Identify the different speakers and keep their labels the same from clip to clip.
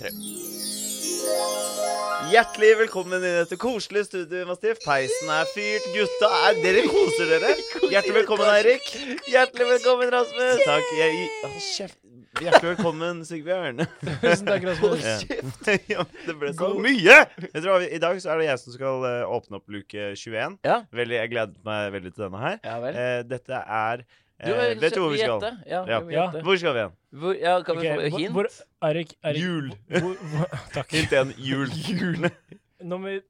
Speaker 1: tre. Hjertelig velkommen inn i dette koselige studioet, Mastiff. Peisen er fyrt, gutta er Dere koser dere. Hjertelig velkommen, Eirik. Hjertelig velkommen, Rasmus. Takk. Jeg, hold kjeft. Hjertelig velkommen, Sigbjørn.
Speaker 2: Tusen takk, Rasmus.
Speaker 1: Ja. ja, men det ble så mye! Jeg tror vi, I dag så er det jeg som skal eh, åpne opp luke 21.
Speaker 2: Ja.
Speaker 1: Veldig, jeg gleder meg veldig til denne her.
Speaker 2: Ja vel.
Speaker 1: Eh, dette er eh,
Speaker 3: Du vil
Speaker 1: Vet du hvor vi skal?
Speaker 3: gjette? Ja,
Speaker 1: Ja.
Speaker 3: vi må
Speaker 2: Ja.
Speaker 3: gjette.
Speaker 1: Hvor skal vi hen?
Speaker 3: Hvor, ja, kan vi
Speaker 2: Ok,
Speaker 3: få
Speaker 2: hvor-
Speaker 3: hint?
Speaker 2: Hvor, Erik, Erik
Speaker 1: Jul.
Speaker 2: Hvor, hvor, takk.
Speaker 1: Hint én jul.
Speaker 2: Nummer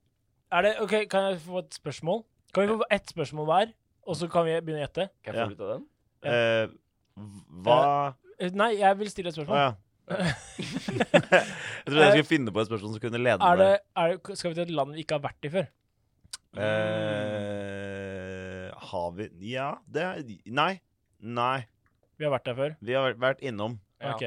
Speaker 2: Er det OK, kan jeg få et spørsmål? Kan vi få ett spørsmål hver, og så kan vi begynne å gjette?
Speaker 3: Kan
Speaker 1: Ja.
Speaker 3: jeg få ut av den?
Speaker 1: Eh, hva
Speaker 2: Eh, Nei, jeg vil stille et
Speaker 1: Å
Speaker 2: spørsmål.
Speaker 1: ja.
Speaker 3: Eh,
Speaker 1: jeg trodde jeg skulle finne på et spørsmål som kunne lede
Speaker 2: Er det,
Speaker 1: meg.
Speaker 2: er det, skal vi til et land vi ikke har vært i før?
Speaker 1: Eh, har vi Ja, det er Nei. Nei.
Speaker 2: Vi har vært der før.
Speaker 1: Vi har vært innom.
Speaker 3: Ja.
Speaker 2: Ok.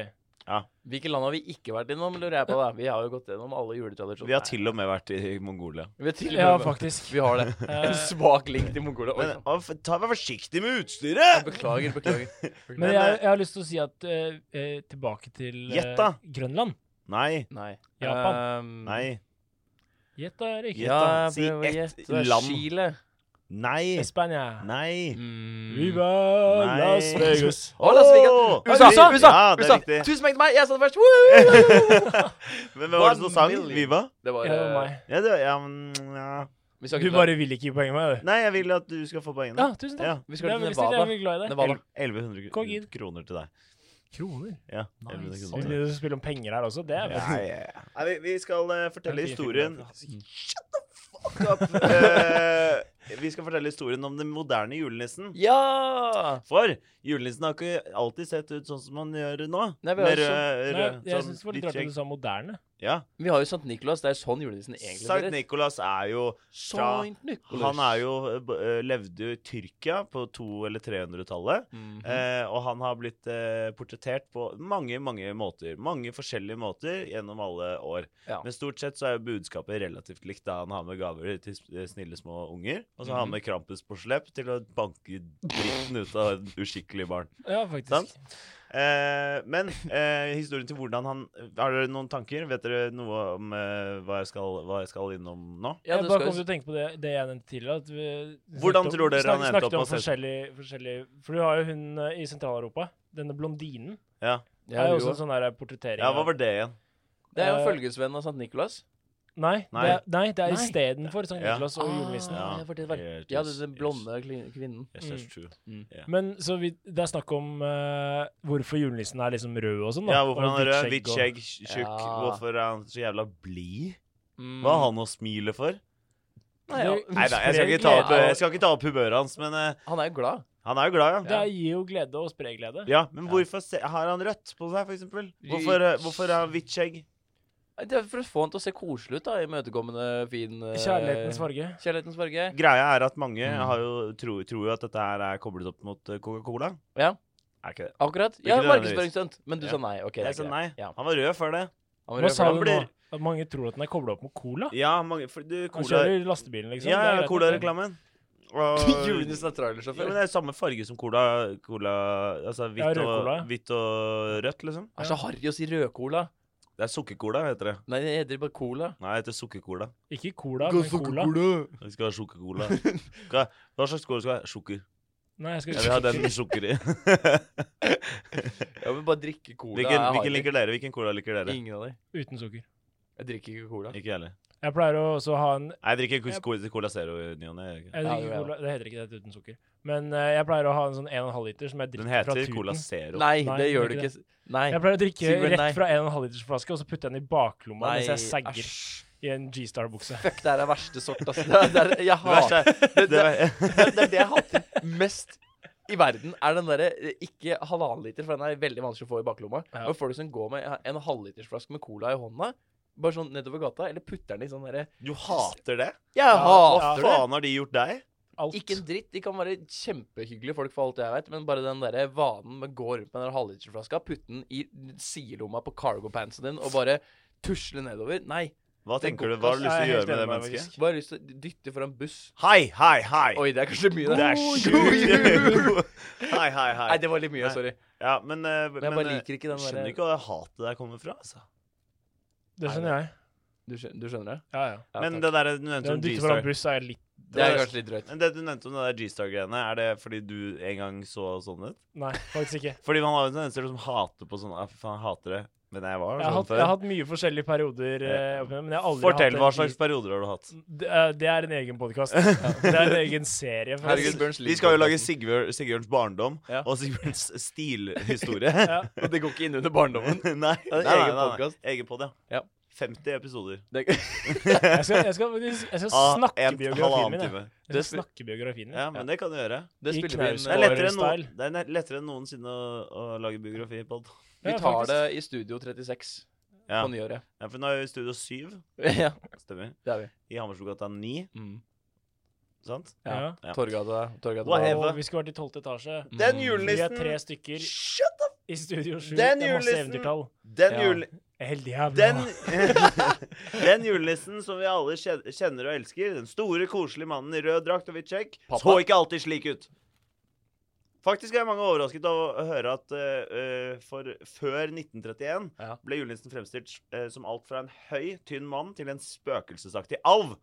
Speaker 3: Hvilke land har vi ikke vært innom, lurer jeg på. da? Vi har jo gått gjennom alle juletradisjoner.
Speaker 1: Vi har til og med vært i Mongolia.
Speaker 3: Vi har til og
Speaker 2: Ja,
Speaker 3: med-
Speaker 2: faktisk.
Speaker 3: Vi har det.
Speaker 2: Eh,
Speaker 3: En svak link til Mongolia. Oi, sånn.
Speaker 1: Men å, f- ta, vær forsiktig med utstyret!
Speaker 3: Beklager, beklager.
Speaker 2: men
Speaker 1: men,
Speaker 2: jeg,
Speaker 1: eh,
Speaker 2: jeg har lyst til å si at eh, eh, tilbake til eh,
Speaker 1: Gjett da.
Speaker 2: Grønland.
Speaker 1: Nei.
Speaker 3: Nei.
Speaker 2: Japan.
Speaker 3: Um,
Speaker 1: Nei.
Speaker 2: Gjett da, Erik.
Speaker 1: Gjett
Speaker 3: Eh, Ja,
Speaker 1: da. Si
Speaker 3: prøv å
Speaker 1: ett
Speaker 3: gjette. Det er
Speaker 1: land.
Speaker 3: Chile.
Speaker 1: Nei.
Speaker 2: Spania.
Speaker 1: Nei.
Speaker 3: Mm.
Speaker 2: Viva
Speaker 1: Nei.
Speaker 2: Las Vegas.
Speaker 3: Å, Las Vegas.
Speaker 1: Åh!
Speaker 3: USA! USA! USA!
Speaker 1: Ja, det er riktig.
Speaker 3: Tusen takk til meg! Jeg sa det først! Woo!
Speaker 1: Men hvem var det som
Speaker 3: One
Speaker 1: sang?
Speaker 3: million.
Speaker 1: Viva?
Speaker 3: Det var eh,
Speaker 2: Ja, det var meg.
Speaker 1: Ja, det, ja, men, ja.
Speaker 3: Vi skal
Speaker 2: Du
Speaker 3: ikke til-
Speaker 2: bare vil ikke gi poeng med meg, du.
Speaker 1: Nei, jeg vil at du skal få poengene.
Speaker 2: Ja, tusen takk.
Speaker 1: Ja.
Speaker 3: Vi
Speaker 2: Jeg
Speaker 3: skal
Speaker 2: er
Speaker 3: til
Speaker 2: veldig snill, jeg er
Speaker 3: Nevada.
Speaker 2: veldig glad i deg.
Speaker 3: Nevada.
Speaker 1: 1100
Speaker 2: Kom inn.
Speaker 1: kr- kroner til deg.
Speaker 2: Kroner?
Speaker 1: Ja,
Speaker 2: Nice.
Speaker 1: 1100 kroner
Speaker 2: Vi
Speaker 1: til deg.
Speaker 2: begynner å spille om penger her også. Det er
Speaker 1: Nei, Nei, vi, vi skal eh, fortelle
Speaker 2: Det er fire
Speaker 1: historien
Speaker 2: kroner,
Speaker 1: Shut the fuck up! Eh, vi skal fortelle historien om den moderne julenissen.
Speaker 3: Ja!
Speaker 1: For julenissen har ikke alltid sett ut sånn som han gjør nå.
Speaker 3: Nei, vi har
Speaker 1: Med
Speaker 3: jo
Speaker 1: rød,
Speaker 2: Nei,
Speaker 1: rød
Speaker 2: jeg
Speaker 1: sånn
Speaker 2: syns det var litt
Speaker 1: hvitt
Speaker 2: rart at
Speaker 1: skjegg.
Speaker 2: du sa moderne.
Speaker 1: Ja.
Speaker 3: Vi har jo Sankt Nikolas. Det er sånn julenissen egentlig
Speaker 1: Sankt Nikolas er jo fra-
Speaker 3: Sankt Nikolas.
Speaker 1: Han er jo, eh, b- eh, levde jo i Tyrkia på 200- eller 300-tallet.
Speaker 3: Mhm.
Speaker 1: Eh, og han har blitt eh, portrettert på mange, mange måter. Mange forskjellige måter gjennom alle år.
Speaker 3: Ja.
Speaker 1: Men stort sett så er jo budskapet relativt likt. da Han har med gaver til s- eh, snille små unger, og så har han
Speaker 3: Mhm.
Speaker 1: med Krampus på slep til å banke dritten ut av en uskikkelig barn.
Speaker 2: Ja, faktisk.
Speaker 1: Sant? Eh, men eh, historien til hvordan han Har dere noen tanker? Vet dere noe om eh, hva, jeg skal, hva jeg skal innom nå?
Speaker 3: Ja,
Speaker 2: jeg
Speaker 3: det
Speaker 2: bare
Speaker 3: skal
Speaker 2: kom
Speaker 3: jo-
Speaker 2: til å tenke på det, det jeg nevnte tidligere. At vi
Speaker 1: Hvordan
Speaker 2: snakket om-
Speaker 1: tror dere han
Speaker 2: snakket-
Speaker 1: endte
Speaker 2: snakket
Speaker 1: opp
Speaker 2: om
Speaker 1: med å se-
Speaker 2: forskjellige, forskjellige For du har jo hun eh, i Sentral-Europa. Denne blondinen
Speaker 1: Ja,
Speaker 3: Ja,
Speaker 2: er jo
Speaker 3: jo.
Speaker 2: også en sånn der portrettering.
Speaker 1: ja
Speaker 2: av-
Speaker 1: hva var det igjen?
Speaker 3: Det er jo
Speaker 2: Eh,
Speaker 3: følgesvenn av Sankt Nikolas.
Speaker 2: Nei,
Speaker 1: Nei.
Speaker 2: det er, nei, Ah. det er
Speaker 3: Nei.
Speaker 2: istedenfor Sankt
Speaker 1: Ja.
Speaker 2: Nikolas og julenissen.
Speaker 1: Ja.
Speaker 3: Ah, Ja, det var det det var.
Speaker 1: Yes,
Speaker 3: ja, det er den
Speaker 1: yes.
Speaker 3: blonde kli- kvinnen.
Speaker 1: Yes, yes, true.
Speaker 2: Men så vi, det er snakk om eh, hvorfor julenissen er liksom rød og sånn. da,
Speaker 1: Ja, hvorfor
Speaker 2: og
Speaker 1: han er rød,
Speaker 2: hvitt
Speaker 1: hvitt
Speaker 2: og-
Speaker 1: skjegg, tjukk.
Speaker 3: Ja.
Speaker 1: Hvorfor er han så jævla blid?
Speaker 3: Mm.
Speaker 1: Hva har han å smile for?
Speaker 3: Nei, ja.
Speaker 2: Det-
Speaker 1: Nei da, jeg skal ikke ta opp, jeg skal ikke ta opp humøret hans, men eh,
Speaker 3: Han er jo glad.
Speaker 1: han er jo glad, ja.
Speaker 2: Det gir jo glede og sprer glede.
Speaker 1: Ja, Men hvorfor se, har han rødt på seg, for eksempel? Hvorfor, eh, hvorfor har han hvitt skjegg?
Speaker 3: Nei, Det er for å få han til å se koselig ut, da. Imøtekommende, fin eh,
Speaker 2: Kjærlighetens farge.
Speaker 3: Kjærlighetens farge.
Speaker 1: Greia er at mange
Speaker 3: Mm.
Speaker 1: har jo, tror, tror jo at dette her er koblet opp mot eh, Coca-Cola.
Speaker 3: Ja.
Speaker 1: Er ikke det?
Speaker 3: Akkurat.
Speaker 1: Ikke
Speaker 3: Ja,
Speaker 1: nødvendigvis.
Speaker 3: markedsføringsstunt. Men du
Speaker 1: Ja.
Speaker 3: sa nei. Ok, det er
Speaker 1: Jeg sa
Speaker 3: greit.
Speaker 1: nei.
Speaker 3: Ja.
Speaker 1: Han var rød før det.
Speaker 3: Han var
Speaker 2: Hva
Speaker 3: rød
Speaker 2: sa
Speaker 3: for
Speaker 2: du
Speaker 3: det.
Speaker 2: nå?
Speaker 1: blir-
Speaker 2: At mange tror at den er kobla opp mot cola?
Speaker 1: Ja, mange, for, du,
Speaker 2: Han
Speaker 1: cola
Speaker 2: kjører lastebilen, liksom.
Speaker 1: Ja,
Speaker 2: Det
Speaker 1: ja,
Speaker 2: er greit, det.
Speaker 1: Cola-reklamen. Og-
Speaker 3: Julenissen er
Speaker 1: Ja, men
Speaker 3: trailersjåfør.
Speaker 1: det er samme farge som cola, cola Altså hvitt,
Speaker 2: Ja, rød cola, ja.
Speaker 1: og, hvitt og rødt, liksom.
Speaker 3: Det er så harry å si rødcola.
Speaker 1: Det er sukkercola, heter det.
Speaker 3: Nei, det heter bare cola.
Speaker 1: Nei, det heter sukkercola.
Speaker 2: Ikke cola, men cola.
Speaker 1: Vi skal ha sukkercola. Hva, hva slags cola skal vi ha? Sukker.
Speaker 2: Nei, jeg skal
Speaker 1: Jeg vil ha den med sukker i.
Speaker 3: Ja, men bare drikke cola.
Speaker 1: Hvilken,
Speaker 3: er
Speaker 1: hvilken
Speaker 3: harry.
Speaker 1: liker dere? Hvilken cola liker dere?
Speaker 3: Ingen av dem.
Speaker 2: uten sukker.
Speaker 3: Jeg drikker ikke cola.
Speaker 1: Ikke jeg heller.
Speaker 2: Jeg pleier å også ha en
Speaker 1: Nei, Jeg drikker kos- kos- Cola Zero i ny og ne. jeg gjør ikke det.
Speaker 2: jeg
Speaker 3: Ja, det
Speaker 2: drikker
Speaker 3: er
Speaker 2: cola, Det heter ikke det det heter uten sukker. Men eh, jeg pleier å ha en sånn 1,5 liter som jeg
Speaker 1: Den
Speaker 2: drikker fra
Speaker 1: heter Cola
Speaker 2: tuten.
Speaker 1: Zero.
Speaker 3: Nei,
Speaker 2: Nei,
Speaker 3: det gjør
Speaker 2: det
Speaker 3: du
Speaker 2: er
Speaker 3: ikke. Nei.
Speaker 2: Jeg pleier å drikke
Speaker 3: Sigurd, nei.
Speaker 2: rett fra 1,5 liters flaske, og så putte den i baklomma
Speaker 3: Nei,
Speaker 2: mens jeg sagger
Speaker 3: æsj.
Speaker 2: i en G-Star-bukse.
Speaker 3: Fuck, det her er verste sort, altså. Det er, det er,
Speaker 1: Det
Speaker 3: jeg
Speaker 1: verste
Speaker 3: hater
Speaker 1: er det, det,
Speaker 3: det, er det jeg hater mest i verden, er den derre eh, ikke halvannen liter, for den er veldig vanskelig å få i baklomma.
Speaker 2: Ja.
Speaker 3: Og folk som går med en halvlitersflaske med cola i hånda, bare sånn nedover gata, eller putter den i sånn derre
Speaker 1: Du hater det?
Speaker 3: Jeg
Speaker 1: Hva
Speaker 3: hater det!
Speaker 1: faen har de gjort deg?
Speaker 2: Alt.
Speaker 3: Ikke en dritt. De kan være kjempehyggelige folk, for alt jeg vet, men bare den der vanen med å gå rundt med den der halvlitersflaska, putte den i sidelomma på cargo-pantsen din og bare tusle nedover. Nei.
Speaker 1: Hva
Speaker 3: Det
Speaker 1: tenker
Speaker 3: går
Speaker 1: du, Hva har du
Speaker 2: ikke,
Speaker 1: lyst til å
Speaker 2: altså.
Speaker 1: gjøre med det
Speaker 2: Jeg er helt enig med deg,
Speaker 1: mennesket?
Speaker 3: Bare lyst til å dytte foran buss.
Speaker 1: Hei, hei, hei!
Speaker 3: Oi, det er kanskje mye,
Speaker 1: Det
Speaker 3: det.
Speaker 1: er
Speaker 3: jul!
Speaker 1: sjukt! Hei, hei,
Speaker 3: Nei,
Speaker 1: hei.
Speaker 3: det var litt mye.
Speaker 1: Nei.
Speaker 3: Sorry.
Speaker 1: Ja, men, eh,
Speaker 3: Men jeg bare
Speaker 1: eh,
Speaker 3: liker ikke den
Speaker 1: skjønner
Speaker 3: derre
Speaker 1: ikke hvor hatet der kommer fra, altså.
Speaker 2: Det skjønner jeg.
Speaker 3: Du, skjø- du skjønner det?
Speaker 2: Ja, ja.
Speaker 3: Ja,
Speaker 1: Men
Speaker 3: takk.
Speaker 1: det der du nevnte
Speaker 2: Den
Speaker 1: om
Speaker 2: dytter foran
Speaker 1: sånn G-Star
Speaker 2: buss er litt
Speaker 3: det er kanskje litt drøyt.
Speaker 1: Men Det du nevnte om det der G-Star-greiene, er det fordi du en gang så sånn ut?
Speaker 2: Nei, faktisk ikke.
Speaker 1: Fordi man har jo tendenser til å liksom hate på sånn Ja, fy faen, jeg hater det. Men jeg var
Speaker 2: Jeg
Speaker 1: sånn
Speaker 2: har hatt, jeg har
Speaker 1: før.
Speaker 2: hatt mye forskjellige perioder, eh, opp igjennom, men jeg har aldri
Speaker 1: Fortell
Speaker 2: hatt
Speaker 1: hva
Speaker 2: en
Speaker 1: slags
Speaker 2: G-
Speaker 1: perioder har du hatt?
Speaker 2: det, er- det er en egen podkast. Det er en egen serie. faktisk.
Speaker 3: Herregud, Bjørns
Speaker 1: Vi skal jo lage Sigbjørn, Sigbjørns barndom
Speaker 3: Ja.
Speaker 1: og Sigbjørns stilhistorie.
Speaker 2: Ja.
Speaker 3: Og det går ikke inn under barndommen.
Speaker 1: nei, nei,
Speaker 3: er en
Speaker 1: nei, nei,
Speaker 3: egen
Speaker 1: nei.
Speaker 3: podcast.
Speaker 1: Egen pod, ja.
Speaker 3: Ja.
Speaker 1: 50 episoder.
Speaker 3: Det,
Speaker 2: Jeg skal, jeg skal, faktisk- jeg skal
Speaker 1: Ah,
Speaker 2: snakke
Speaker 1: en
Speaker 2: biografien
Speaker 1: halvannen
Speaker 2: min. Jeg.
Speaker 1: time.
Speaker 2: jeg skal snakke biografien min.
Speaker 1: Ja, men det kan du gjøre.
Speaker 3: det
Speaker 2: I
Speaker 3: spiller vi
Speaker 2: knaus.
Speaker 3: inn
Speaker 1: Det er
Speaker 2: Åre
Speaker 1: lettere enn, noen,
Speaker 2: style.
Speaker 1: det er ne- lettere enn noensinne å, å lage biografi på pod.
Speaker 3: Vi
Speaker 2: Ja,
Speaker 3: tar
Speaker 2: faktisk.
Speaker 3: det i Studio 36
Speaker 1: Ja.
Speaker 3: på nyåret.
Speaker 1: ja, for nå er vi i Studio 7,
Speaker 3: ja,
Speaker 1: stemmer.
Speaker 3: det er vi.
Speaker 1: I Hammersborggata 9,
Speaker 3: Mm.
Speaker 1: sant?
Speaker 3: Ja.
Speaker 2: Ja.
Speaker 1: Ja.
Speaker 3: Torgata, Torgata
Speaker 1: Wow.
Speaker 3: Torgata.
Speaker 1: Eva.
Speaker 2: Og vi skulle vært i tolvte etasje.
Speaker 3: Mm.
Speaker 1: Den
Speaker 2: Vi er tre
Speaker 1: julenissen
Speaker 2: stykker
Speaker 1: Shut up!
Speaker 2: i Studio 7.
Speaker 1: Den
Speaker 2: det er masse
Speaker 1: julenissen-
Speaker 2: eventyrtall.
Speaker 1: Den,
Speaker 3: Ja.
Speaker 1: jule,
Speaker 2: Helt jævla.
Speaker 1: den, den julenissen som vi alle kje- kjenner og elsker, den store, koselige mannen i rød drakt og hvitt skjegg,
Speaker 3: Pappa.
Speaker 1: så ikke alltid slik ut. Faktisk er mange overrasket av å høre at eh, eh, for før 1931
Speaker 3: Ja.
Speaker 1: ble julenissen fremstilt eh, som alt fra en høy, tynn mann til en spøkelsesaktig alv.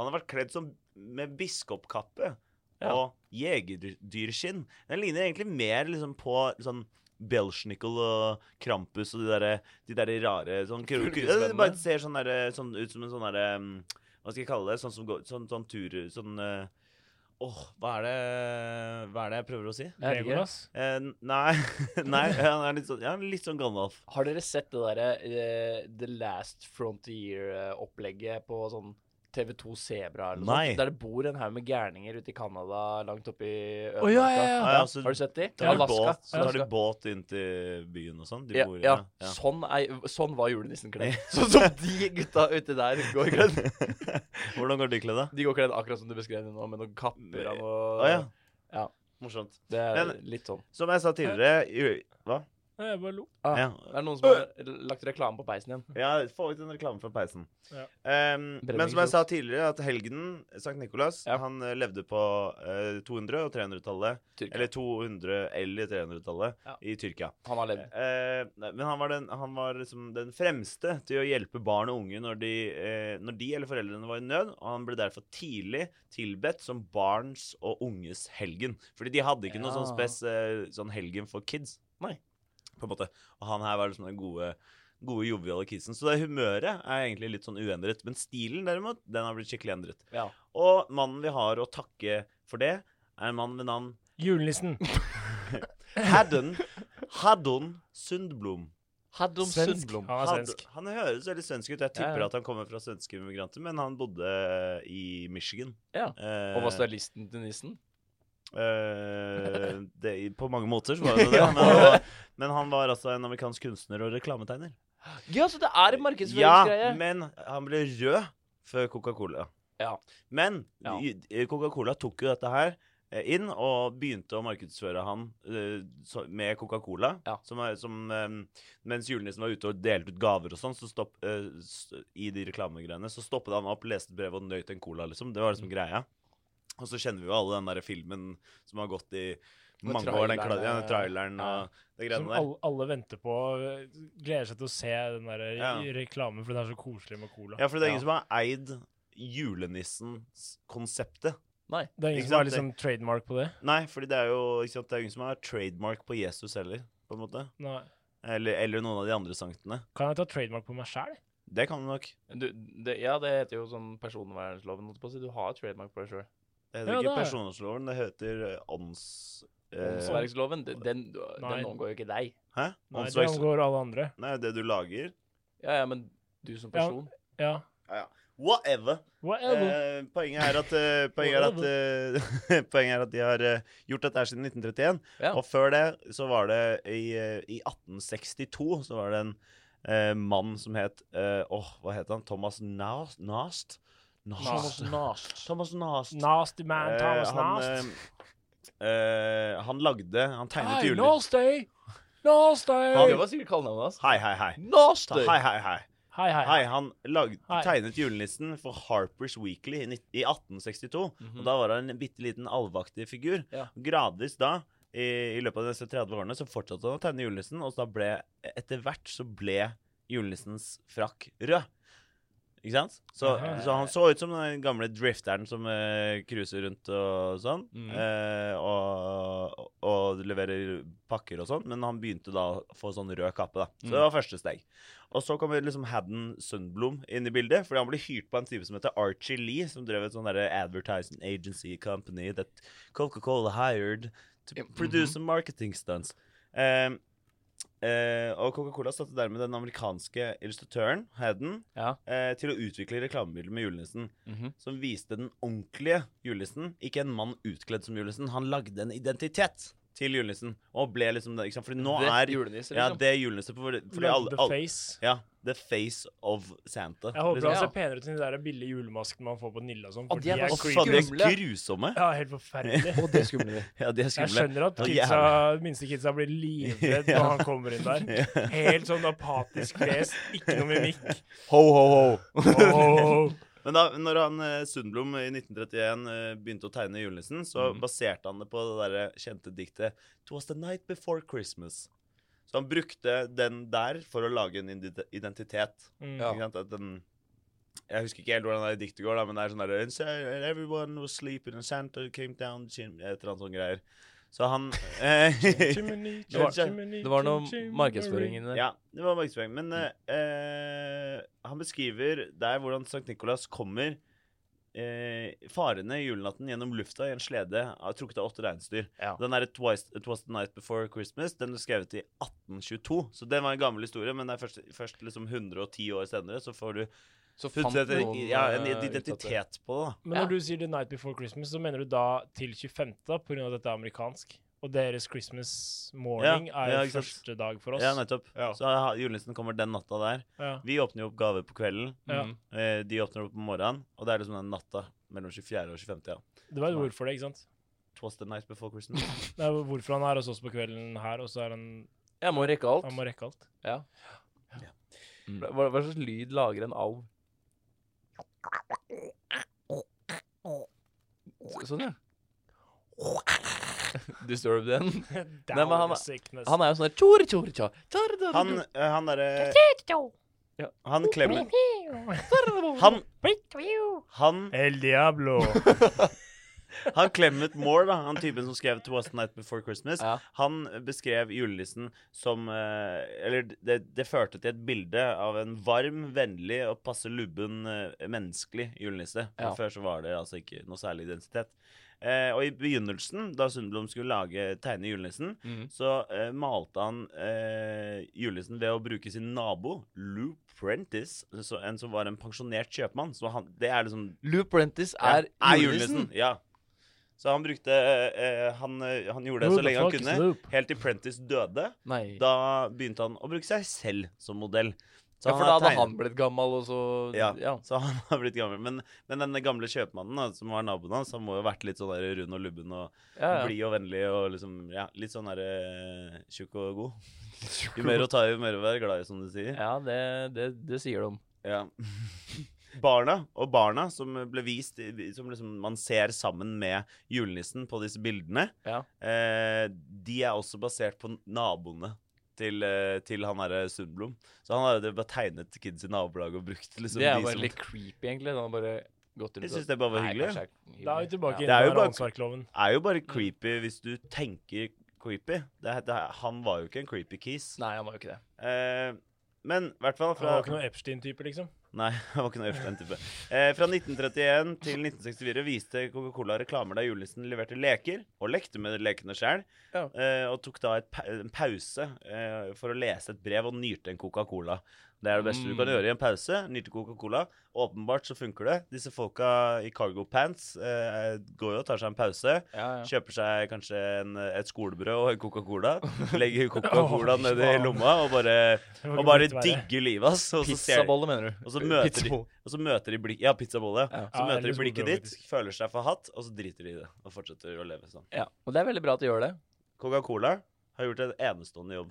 Speaker 1: Han har vært kledd som med biskopkappe
Speaker 3: Ja.
Speaker 1: og jegerdyrskinn. Den ligner egentlig mer liksom, på sånn Belsjnikkel og Krampus og de derre de der rare sånn kru- kru-
Speaker 3: Fylkesmennene.
Speaker 1: Det bare ser sånn, derre- sånn ut som en sånn derre mm, Hva skal jeg kalle det? Sånn som går Sånn, sånn tur... Sånn eh, Åh, hva er det Hva er det jeg prøver å si?
Speaker 2: Legolas.
Speaker 1: Eh, nei, nei han er litt sånn, ja, litt sånn Gandalf.
Speaker 3: Har dere sett det derre eh, The Last Frontier-opplegget på sånn TV2 Sebra eller noe
Speaker 1: Nei.
Speaker 3: sånt? Der det bor en haug med gærninger ute i Canada, langt oppi ødemarka.
Speaker 2: Å ja, ja, ja.
Speaker 1: Ja, ja, så
Speaker 3: Har du sett de?
Speaker 1: altså, tar de
Speaker 3: Alaska.
Speaker 1: båt, så tar de
Speaker 3: Alaska.
Speaker 1: båt inn til byen og sånn. De
Speaker 3: Ja,
Speaker 1: bor i
Speaker 3: ja.
Speaker 1: ja.
Speaker 3: Sånn, er, sånn var julenissen kledd. Sånn som de gutta ute der går kledd.
Speaker 1: Hvordan går de kledd, da?
Speaker 3: De går kledd akkurat som du beskrev det nå, med noen kapper og noe
Speaker 1: Å ja.
Speaker 3: Ja.
Speaker 1: Morsomt.
Speaker 3: Det er
Speaker 1: Men-
Speaker 3: litt sånn.
Speaker 1: Som jeg sa tidligere ju- Hva?
Speaker 2: Nei, Jeg bare lo.
Speaker 3: Ah,
Speaker 1: Ja.
Speaker 3: Det er noen som har lagt reklame på peisen igjen.
Speaker 1: Ja, få ut en reklame fra peisen.
Speaker 2: Ja.
Speaker 1: Ehm, men som jeg sa tidligere, at helgenen, Sankt Nikolas,
Speaker 3: Ja.
Speaker 1: han eh, levde på eh, 200- og 300-tallet.
Speaker 3: Tyrkia.
Speaker 1: Eller 200- eller 300-tallet
Speaker 3: Ja.
Speaker 1: i Tyrkia.
Speaker 3: Han har levd.
Speaker 1: Eh, nei, men han var, den, han var liksom den fremste til å hjelpe barn og unge når de, eh, når de eller foreldrene var i nød, og han ble derfor tidlig tilbedt som barns og unges helgen. Fordi de hadde ikke noe sånn
Speaker 3: Ja.
Speaker 1: spes eh, sånn helgen for kids.
Speaker 3: Nei.
Speaker 1: På en måte. Og han her var liksom den gode, gode joviale kidsen. Så det humøret er egentlig litt sånn uendret. Men stilen derimot, den har blitt skikkelig endret.
Speaker 3: Ja.
Speaker 1: Og mannen vi har å takke for det, er en mann ved navn
Speaker 2: Julenissen.
Speaker 1: Haddon, Haddon Sundblom.
Speaker 3: Haddon
Speaker 2: Svensk.
Speaker 3: Sundblom.
Speaker 2: Han er
Speaker 1: Hadde-
Speaker 2: svensk.
Speaker 1: Han høres veldig svensk ut. Jeg
Speaker 3: Ja,
Speaker 1: tipper
Speaker 3: ja.
Speaker 1: at han kommer fra svenske immigranter, men han bodde i Michigan.
Speaker 3: Ja.
Speaker 1: Eh,
Speaker 3: Og var stylisten til nissen?
Speaker 1: eh, det, på mange måter så var han jo det.
Speaker 3: Ja.
Speaker 1: men, han var, men han var altså en amerikansk kunstner og reklametegner.
Speaker 3: Ja, så det er en
Speaker 1: Ja,
Speaker 3: markedsføringsgreie.
Speaker 1: men han ble rød før Coca-Cola.
Speaker 3: Ja.
Speaker 1: Men
Speaker 3: Ja.
Speaker 1: i- Coca-Cola tok jo dette her eh, inn og begynte å markedsføre han eh, så- med Coca-Cola.
Speaker 3: Ja.
Speaker 1: Som, er- som, eh, mens julenissen var ute og delte ut gaver og sånn, så stopp, eh, s- i de reklamegreiene, så stoppet han opp, leste brevet og nøt en cola, liksom. Det var
Speaker 3: Mm.
Speaker 1: liksom greia. Og så kjenner vi jo alle den der filmen som har gått i
Speaker 3: Med
Speaker 1: mange år, den
Speaker 3: traileren,
Speaker 1: kla- ja,
Speaker 3: eh,
Speaker 1: traileren
Speaker 3: ja.
Speaker 1: og de
Speaker 2: Som
Speaker 1: greiene der.
Speaker 2: alle, alle venter på. og eh, Gleder seg til å se den der eh,
Speaker 1: Ja.
Speaker 2: reklamen, for den er så koselig med cola.
Speaker 1: Ja, for det er ingen
Speaker 3: Ja.
Speaker 1: som har eid julenissens konseptet.
Speaker 3: Nei.
Speaker 2: Det er
Speaker 1: Ikke
Speaker 2: ingen som har
Speaker 1: sant,
Speaker 2: liksom trademark på det.
Speaker 1: Nei, fordi det er jo ikke sant, det er ingen som har trademark på Jesus heller, på en måte.
Speaker 2: Nei.
Speaker 1: Eller, eller noen av de andre sanktene.
Speaker 2: Kan jeg ta trademark på meg sjæl?
Speaker 1: Det kan du nok.
Speaker 3: Du, det, ja, det heter jo sånn personvernloven. holdt jeg på å si. Du har et trademark på deg sjøl.
Speaker 1: Det heter
Speaker 2: Ja, det
Speaker 1: ikke
Speaker 2: er-
Speaker 1: personårsloven, det heter eh, ånds... Eh,
Speaker 2: Åndsverk.
Speaker 3: Åndsverksloven, den, den,
Speaker 2: Nei.
Speaker 3: den omgår jo ikke deg.
Speaker 1: hæ?
Speaker 2: Nei, det
Speaker 1: Åndsverks...
Speaker 2: angår alle andre.
Speaker 1: Nei, det du lager.
Speaker 3: Ja, ja, men du som
Speaker 2: Ja.
Speaker 3: person
Speaker 2: Ja.
Speaker 1: Whatever.
Speaker 2: Whatever.
Speaker 1: Eh, poenget er at, eh, poenget er at, eh, poenget er at de har eh, gjort dette her siden 1931.
Speaker 3: Ja.
Speaker 1: Og før det så var det i, eh, i 1862 så var det en eh, mann som het eh, Åh, hva het han? Thomas Nast? Nast?
Speaker 2: Thomas
Speaker 1: Nast. Thomas Nast.
Speaker 2: Nasty man, Thomas
Speaker 1: Eh, han,
Speaker 2: Nast.
Speaker 1: eh, eh, han lagde Han tegnet
Speaker 2: Hei,
Speaker 1: juler.
Speaker 2: Nasty!
Speaker 3: Det
Speaker 2: Nasty!
Speaker 3: var sikkert kallenavnet hans.
Speaker 1: Hei, hei, hei. Ta,
Speaker 3: Nasty!
Speaker 1: hei, hei, hei.
Speaker 2: Hei, hei.
Speaker 1: Hei, han lag,
Speaker 2: Hei.
Speaker 1: tegnet julenissen for Harper's Weekly i, nitt- i 1862.
Speaker 3: Mhm.
Speaker 1: Og da var han en bitte liten alvaktig figur.
Speaker 3: Ja.
Speaker 1: Gradvis da, i, i løpet av disse 30 årene, så fortsatte han å tegne julenissen, og så da ble Etter hvert så ble julissens frakk rød. Ikke sant? Så,
Speaker 2: Aha.
Speaker 1: så han så ut som den gamle drifteren som eh, cruiser rundt og sånn.
Speaker 3: Mm.
Speaker 1: eh, og, og leverer pakker og sånn. Men han begynte da å få sånn rød kappe, da. Så det
Speaker 3: Mm.
Speaker 1: var første steg. Og så kommer liksom Hadden Sundblom inn i bildet. Fordi han ble hyrt på en type som heter Archie Lee, som drev et sånn derre advertising agency company that Coca-Cola hired to
Speaker 3: Ja, mhm.
Speaker 1: produce marketing stunts. Um, Eh, og Coca-Cola satte dermed den amerikanske illustratøren Hadden
Speaker 3: Ja.
Speaker 1: eh, til å utvikle reklamebilder med julenissen,
Speaker 3: Mhm.
Speaker 1: som viste den ordentlige julenissen, ikke en mann utkledd som julenissen. Han lagde en identitet til julenissen, og ble liksom det, ikke sant? Fordi nå
Speaker 3: det
Speaker 1: er
Speaker 3: julenisse,
Speaker 1: ja,
Speaker 3: liksom.
Speaker 1: det er julenisse for, fordi
Speaker 2: Lagde
Speaker 1: alle, alle
Speaker 2: face.
Speaker 1: Ja, the face of Santa.
Speaker 2: Jeg håper
Speaker 1: liksom.
Speaker 2: han
Speaker 3: Ja.
Speaker 2: ser penere ut enn de der billige julemaskene man får på Nilla og sånn.
Speaker 3: Å,
Speaker 2: for
Speaker 3: de er
Speaker 2: de er
Speaker 1: Å,
Speaker 3: ganske
Speaker 1: faen, de
Speaker 2: creepy.
Speaker 1: er grusomme.
Speaker 2: Ja, helt forferdelig.
Speaker 3: Og det skumle.
Speaker 1: Ja, de er
Speaker 2: Jeg
Speaker 1: skumle.
Speaker 2: skjønner at
Speaker 1: Ja,
Speaker 2: kidsa,
Speaker 1: jævlig.
Speaker 2: minste kidsa blir livredd når han kommer inn der. Helt sånn apatisk lest, ikke noe mimikk.
Speaker 1: Ho, ho, ho.
Speaker 2: Åh.
Speaker 1: Men da når han eh, Sundblom i 1931 eh, begynte å tegne julenissen, så
Speaker 3: Mhm.
Speaker 1: baserte han det på det der kjente diktet It was the night before Christmas. Så han brukte den der for å lage en indi- identitet.
Speaker 2: Mm.
Speaker 3: Ja.
Speaker 1: Ikke sant? At den, jeg husker ikke helt hvordan det diktet går, da, men det er sånn der "And so- and Everyone was sleeping and Santa came down chim-" Et eller annet sånn greier. Så han eh,
Speaker 2: Chimney,
Speaker 1: Det var-
Speaker 2: chimney,
Speaker 3: Det var noe
Speaker 2: chimney.
Speaker 3: markedsføring inni der.
Speaker 1: Ja, det var markedsføring. Men eh, eh, han beskriver der hvordan Sankt Nikolas kommer eh, farende i julenatten gjennom lufta i en slede av trukket av åtte reinsdyr.
Speaker 2: Ja.
Speaker 1: Den er et twice, It Was The Night Before Christmas. Den ble skrevet i 1822, så den var en gammel historie. Men det er først, først liksom 110 år senere så får du
Speaker 3: Så fant
Speaker 1: puttet et,
Speaker 3: noen
Speaker 1: ja, en
Speaker 3: eh, ut at det-
Speaker 1: identitet på det. da.
Speaker 2: Men
Speaker 3: Ja.
Speaker 2: når du sier The Night Before Christmas, så mener du da til 25., da, på grunn av at dette er amerikansk? Og deres Christmas morning
Speaker 1: Ja,
Speaker 2: er
Speaker 1: ja,
Speaker 2: jo
Speaker 1: ikke sant.
Speaker 2: første dag for oss.
Speaker 1: Ja, nettopp.
Speaker 2: Ja.
Speaker 1: Så ha- julenissen kommer den natta der.
Speaker 2: Ja.
Speaker 1: Vi åpner jo opp gaver på kvelden.
Speaker 2: Ja.
Speaker 3: Mm.
Speaker 1: eh, De åpner opp om morgenen, og det er liksom den natta mellom 24. og 25. ja.
Speaker 2: Det var et ord for det, ikke sant?
Speaker 1: It was the night before Christmas.
Speaker 2: Det er hvorfor han er hos oss på kvelden her, og så er han
Speaker 3: Jeg må rekke alt.
Speaker 2: Han må rekke alt.
Speaker 3: Ja.
Speaker 1: Ja.
Speaker 3: Mm. Hva, hva slags lyd lager en alv? Så- Sånn, ja. Disturb den. men han-
Speaker 2: Down sickness.
Speaker 3: Han er jo sånn der tjor, tjor, tja, tjor, tjor,
Speaker 1: Han,
Speaker 3: tjor.
Speaker 1: eh, han derre
Speaker 3: Ja.
Speaker 1: Han klemmer Han, han,
Speaker 2: El Diablo.
Speaker 1: han Clement Moore, da, han typen som skrev 'Twas the Night Before Christmas',
Speaker 3: Ja.
Speaker 1: han eh, beskrev julenissen som eh, Eller det, det førte til et bilde av en varm, vennlig og passe lubben eh, menneskelig julenisse. Men
Speaker 3: Ja.
Speaker 1: Før så var det altså ikke noe særlig identitet. Eh, og i begynnelsen, da Sundblom skulle lage tegne julenissen,
Speaker 3: Mm.
Speaker 1: så eh, malte han eh, julenissen ved å bruke sin nabo, Lou Prentice, så, en som var en pensjonert kjøpmann. Så han, det er liksom
Speaker 3: Lou Prentice
Speaker 1: ja,
Speaker 3: er julenissen.
Speaker 1: Ja. Så han brukte eh, eh, han, eh, han gjorde det
Speaker 2: Who
Speaker 1: så
Speaker 2: the
Speaker 1: lenge han
Speaker 2: fuck is
Speaker 1: kunne,
Speaker 2: Loop?
Speaker 1: helt til Prentice døde.
Speaker 3: Nei.
Speaker 1: Da begynte han å bruke seg selv som modell. Så
Speaker 3: ja, for
Speaker 1: har
Speaker 3: da hadde
Speaker 1: tegnet-
Speaker 3: han blitt gammel, og så
Speaker 1: ja,
Speaker 3: ja.
Speaker 1: så han har blitt gammel. Men, men denne gamle kjøpmannen da, som var naboen hans, han må jo ha vært litt sånn der rund og lubben og
Speaker 3: Ja, ja.
Speaker 1: blid og vennlig og liksom, ja, litt sånn der eh, tjukk og god. Jo mer å ta i, jo mer å være glad i, som du sier.
Speaker 3: ja det, det, det sier de.
Speaker 1: Ja. Barna og barna som ble vist, i- som liksom man ser sammen med julenissen på disse bildene,
Speaker 3: Ja.
Speaker 1: eh, de er også basert på naboene til, eh, til han herre Sundblom. Så han hadde bare tegnet kids i nabolaget og brukt liksom
Speaker 3: Det er
Speaker 1: de
Speaker 3: bare
Speaker 1: som
Speaker 3: litt creepy, egentlig. Da bare gått rundt
Speaker 1: Jeg synes det bare var hyggelig,
Speaker 3: kanskje er
Speaker 2: Da er vi tilbake
Speaker 1: Det er jo
Speaker 2: inn på
Speaker 1: bare-
Speaker 2: åndsverkloven.
Speaker 1: er jo bare creepy hvis du tenker creepy. Det, er- det, er- han var jo ikke en creepy kis.
Speaker 3: Nei, han var jo ikke det.
Speaker 1: Eh, men i hvert fall
Speaker 2: Han
Speaker 1: fra
Speaker 2: var ikke noen Epstein-type, liksom.
Speaker 1: Nei, det var ikke noe øverste NTP. Eh, fra 1931 til 1964 viste Coca-Cola reklamer der julenissen leverte leker, og lekte med lekene sjøl,
Speaker 3: Ja.
Speaker 1: eh, og tok da et pa en pause eh, for å lese et brev og nyrte en Coca-Cola. Det er det beste du kan
Speaker 3: Mm.
Speaker 1: gjøre i en pause. Nyrte Coca-Cola. Åpenbart så funker det. Disse folka i cargo pants eh, går jo og tar seg en pause.
Speaker 3: Ja, ja.
Speaker 1: Kjøper seg kanskje en, et skolebrød og en Coca-Cola. Legger Coca-Cola nedi lomma og bare,
Speaker 2: Det
Speaker 1: og
Speaker 2: var ikke
Speaker 1: bare
Speaker 2: blitt verre.
Speaker 1: digger livet, ass. Og så ser
Speaker 3: Pizzabolle, mener du?
Speaker 1: og så møter de,
Speaker 3: Pizzabolle.
Speaker 1: og så møter de blikk, ja, pizzabolle.
Speaker 3: Ja.
Speaker 1: Så
Speaker 2: Ja,
Speaker 1: møter de
Speaker 2: eller
Speaker 1: blikket
Speaker 2: skolebrød,
Speaker 1: ditt, føler seg forhatt, og så driter de i det. Og fortsetter å leve sånn.
Speaker 3: Ja, og det er veldig bra at de gjør det.
Speaker 1: Coca-Cola har gjort en enestående jobb.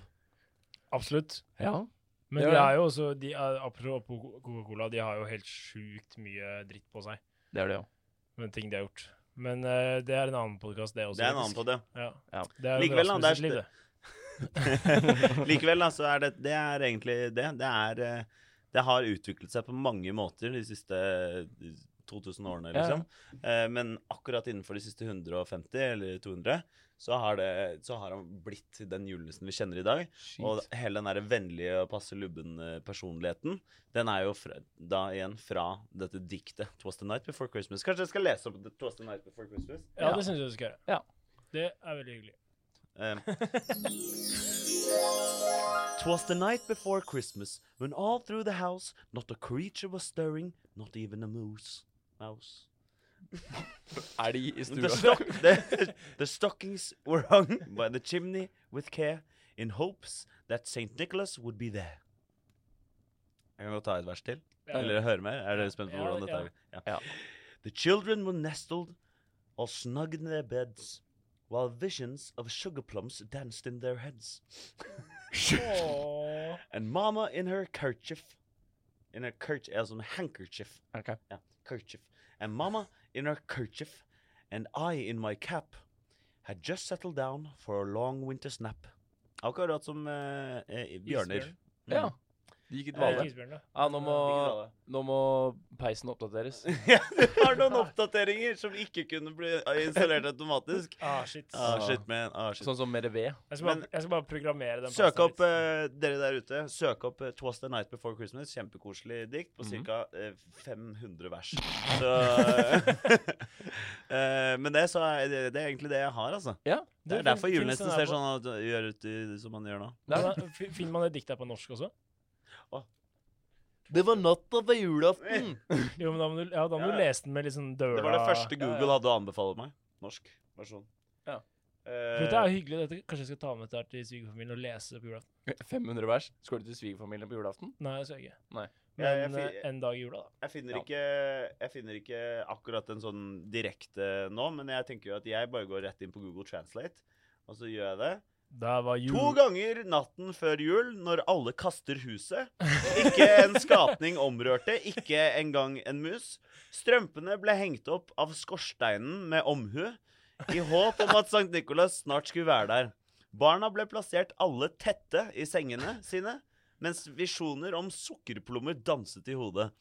Speaker 2: Absolutt.
Speaker 3: Ja.
Speaker 2: Men
Speaker 3: Det
Speaker 2: de
Speaker 3: er det.
Speaker 2: er jo også de er, Apropos Coca-Cola, de har jo helt sjukt mye dritt på seg.
Speaker 3: Det er det jo.
Speaker 2: Med ting de har gjort. Men eh, det er en annen podkast, det også.
Speaker 1: Det er en annen på det.
Speaker 2: Ja.
Speaker 3: Ja.
Speaker 2: Det er jo
Speaker 1: Likevel, da,
Speaker 2: Rasmus
Speaker 1: det er
Speaker 2: sitt liv,
Speaker 1: st-
Speaker 2: det.
Speaker 1: Likevel, da, så er det, det er egentlig det. Det, er, eh, det har utviklet seg på mange måter de siste 2000 årene,
Speaker 2: Ja.
Speaker 1: liksom. Eh, Men akkurat innenfor de siste 150 eller 200, så har, det, så har han blitt til den julenissen vi kjenner i dag. Og hele den der vennlige og passe lubben-personligheten, den er jo fra, da igjen fra dette diktet 'Twas the Night Before Christmas'. Kanskje jeg skal lese opp 'Twas the Night Before Christmas'?
Speaker 2: Ja,
Speaker 3: Ja.
Speaker 2: det syns jeg du skal gjøre.
Speaker 3: Ja.
Speaker 2: Det er veldig hyggelig.
Speaker 1: Um, Twas the night before Christmas, when all through the house not a creature was stirring, not even a moose. Mouse.
Speaker 3: Elg i
Speaker 1: The,
Speaker 3: stua.
Speaker 1: stock- the- the stockings were hung by the chimney with care, in hopes that St. Nicholas would be there. Jeg kan godt ta et vers til.
Speaker 2: Ja.
Speaker 1: Eller høre mer? Er dere spent på
Speaker 2: Ja,
Speaker 1: hvordan dette
Speaker 2: ja.
Speaker 1: er? Ja.
Speaker 3: Ja.
Speaker 1: The children were nestled or snug in their beds, while visions of sugar plums danced in their heads.
Speaker 2: Åh.
Speaker 1: And mama in her kerchief, in her kerchief, as in handkerchief,
Speaker 3: Ok.
Speaker 1: yeah, kerchief. And mama in her kerchief, and I in my cap, had just settled down for a long winter's nap. Akkurat som eh, eh, bjørner. Mm.
Speaker 2: Isbjørn.
Speaker 3: Ja. De gikk i
Speaker 2: Eh,
Speaker 3: dvale.
Speaker 2: isbjørn, da.
Speaker 3: Ja, nå må,
Speaker 1: Ikke dvale.
Speaker 3: nå må peisen oppdateres.
Speaker 1: ja, det var noen oppdateringer som ikke kunne bli eh, installert automatisk.
Speaker 2: Ah, shit.
Speaker 1: Ah,
Speaker 3: Ah.
Speaker 1: shit, man. Ah, shit.
Speaker 3: Sånn som med det ved.
Speaker 2: Jeg skal, bare,
Speaker 1: Men-
Speaker 2: jeg skal bare programmere den.
Speaker 1: Søk
Speaker 2: passen
Speaker 1: opp,
Speaker 2: litt.
Speaker 1: eh, dere der ute, søk opp eh, 'Twas the Night Before Christmas'. Kjempekoselig dikt på
Speaker 3: Mhm.
Speaker 1: ca. 500 vers. Så, eh, men det, så er det, det er egentlig det jeg har, altså.
Speaker 3: Ja.
Speaker 1: Det er
Speaker 2: fin-
Speaker 1: derfor
Speaker 2: fin
Speaker 1: julenissen
Speaker 2: sånn
Speaker 1: ser
Speaker 2: her på-
Speaker 1: sånn ut, gjør ut i- som han gjør nå.
Speaker 2: Men da, fi- Finner man det diktet her på norsk også?
Speaker 3: Det var natta ved julaften!
Speaker 2: Jo, men da må du, ja, da må du
Speaker 1: Ja.
Speaker 2: lese den med litt sånn døla
Speaker 1: Det var det første
Speaker 3: ja, ja.
Speaker 1: Google hadde å anbefale meg. Norsk versjon.
Speaker 3: Ja.
Speaker 1: Eh,
Speaker 2: Dette er hyggelig. Dette, kanskje jeg skal ta med dette her til svigerfamilien og lese det på julaften?
Speaker 3: 500 vers. Skal du til svigerfamilien på julaften?
Speaker 2: Nei, det skal jeg ikke.
Speaker 3: Nei.
Speaker 2: Men
Speaker 1: Ja, jeg fi-
Speaker 2: eh, en dag i jula, da.
Speaker 1: jeg, finner
Speaker 3: Ja.
Speaker 1: ikke, jeg finner ikke akkurat en sånn direkte nå, men jeg tenker jo at jeg bare går rett inn på Google Translate, og så gjør jeg det.
Speaker 2: Der var jul.
Speaker 1: To ganger natten før jul, når alle kaster huset. Ikke en skapning omrørte, ikke engang en mus. Strømpene ble hengt opp av skorsteinen med omhu, i håp om at Sankt Nikolas snart skulle være der. Barna ble plassert alle tette i sengene sine, mens visjoner om sukkerplommer danset i hodet.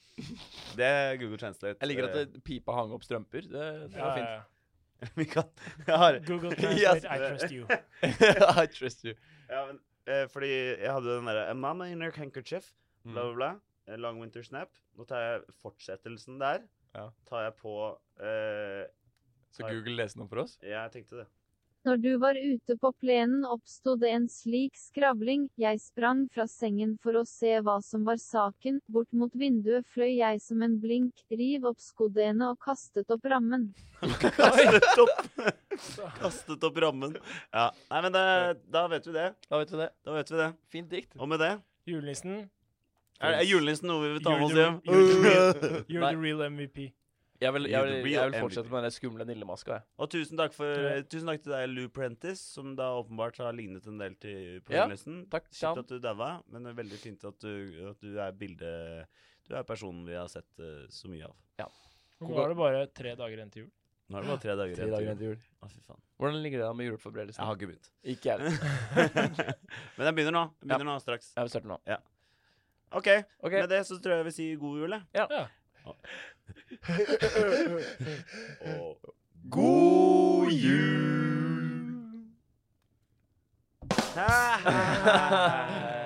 Speaker 1: Det er Eh, Google Translate.
Speaker 3: Jeg liker at det, pipa hang opp strømper. Det, det
Speaker 2: Ja,
Speaker 3: var
Speaker 2: ja,
Speaker 3: fint.
Speaker 2: ja.
Speaker 1: Vi kan Jeg har
Speaker 2: Google
Speaker 1: Ja,
Speaker 2: Translate,
Speaker 1: så-
Speaker 2: I trust you.
Speaker 3: I trust you.
Speaker 1: Ja, men eh, Fordi jeg hadde den derre A mama in her handkerchief, bla, bla, bla. eh, Long winter snap. Nå tar jeg fortsettelsen der.
Speaker 3: Ja.
Speaker 1: Tar jeg på eh,
Speaker 3: Så Google leser noe for oss?
Speaker 1: Ja, jeg tenkte det.
Speaker 4: Når du var ute på plenen oppstod det en slik skravling, jeg sprang fra sengen for å se hva som var saken, bort mot vinduet fløy jeg som en blink, riv opp skodene og kastet opp rammen.
Speaker 1: Kastet opp, kastet opp rammen. Ja. Nei, men det, da vet vi det.
Speaker 3: Da vet vi det.
Speaker 1: Da vet vi det.
Speaker 3: Fint dikt.
Speaker 1: Og med det
Speaker 2: Julenissen,
Speaker 1: Er, er julenissen noe vi vil ta med oss hjem?
Speaker 2: Jule- you're
Speaker 3: Nei.
Speaker 2: the real MVP.
Speaker 3: Jeg vil, jeg vil,
Speaker 1: You're the
Speaker 3: jeg
Speaker 1: real
Speaker 3: vil fortsette
Speaker 1: MVP.
Speaker 3: med den skumle nillemaska. jeg.
Speaker 1: Og tusen takk, for,
Speaker 2: Ja.
Speaker 1: tusen takk til deg, Lou Prentice, som da åpenbart har lignet en del til på
Speaker 3: Ja,
Speaker 1: julenissen.
Speaker 3: Takk.
Speaker 1: Kjipt
Speaker 3: Tjam.
Speaker 1: at du daua, men det er veldig fint at du, at du er bildet Du er personen vi har sett eh, så mye av.
Speaker 2: Nå er det bare tre dager igjen til jul.
Speaker 1: Nå er det bare tre dager
Speaker 3: Tre
Speaker 1: igjen til
Speaker 3: dager igjen
Speaker 1: jul.
Speaker 3: til jul.
Speaker 1: Å, fy faen.
Speaker 3: Hvordan ligger det an med juleforberedelsen?
Speaker 1: Jeg har ikke begynt.
Speaker 3: Ikke jeg.
Speaker 1: men jeg begynner nå. Jeg begynner nå straks.
Speaker 3: Jeg vil starte nå.
Speaker 1: OK.
Speaker 3: OK.
Speaker 1: Med det så tror jeg vi sier god jul, jeg.
Speaker 2: Ja.
Speaker 1: Og
Speaker 3: God jul!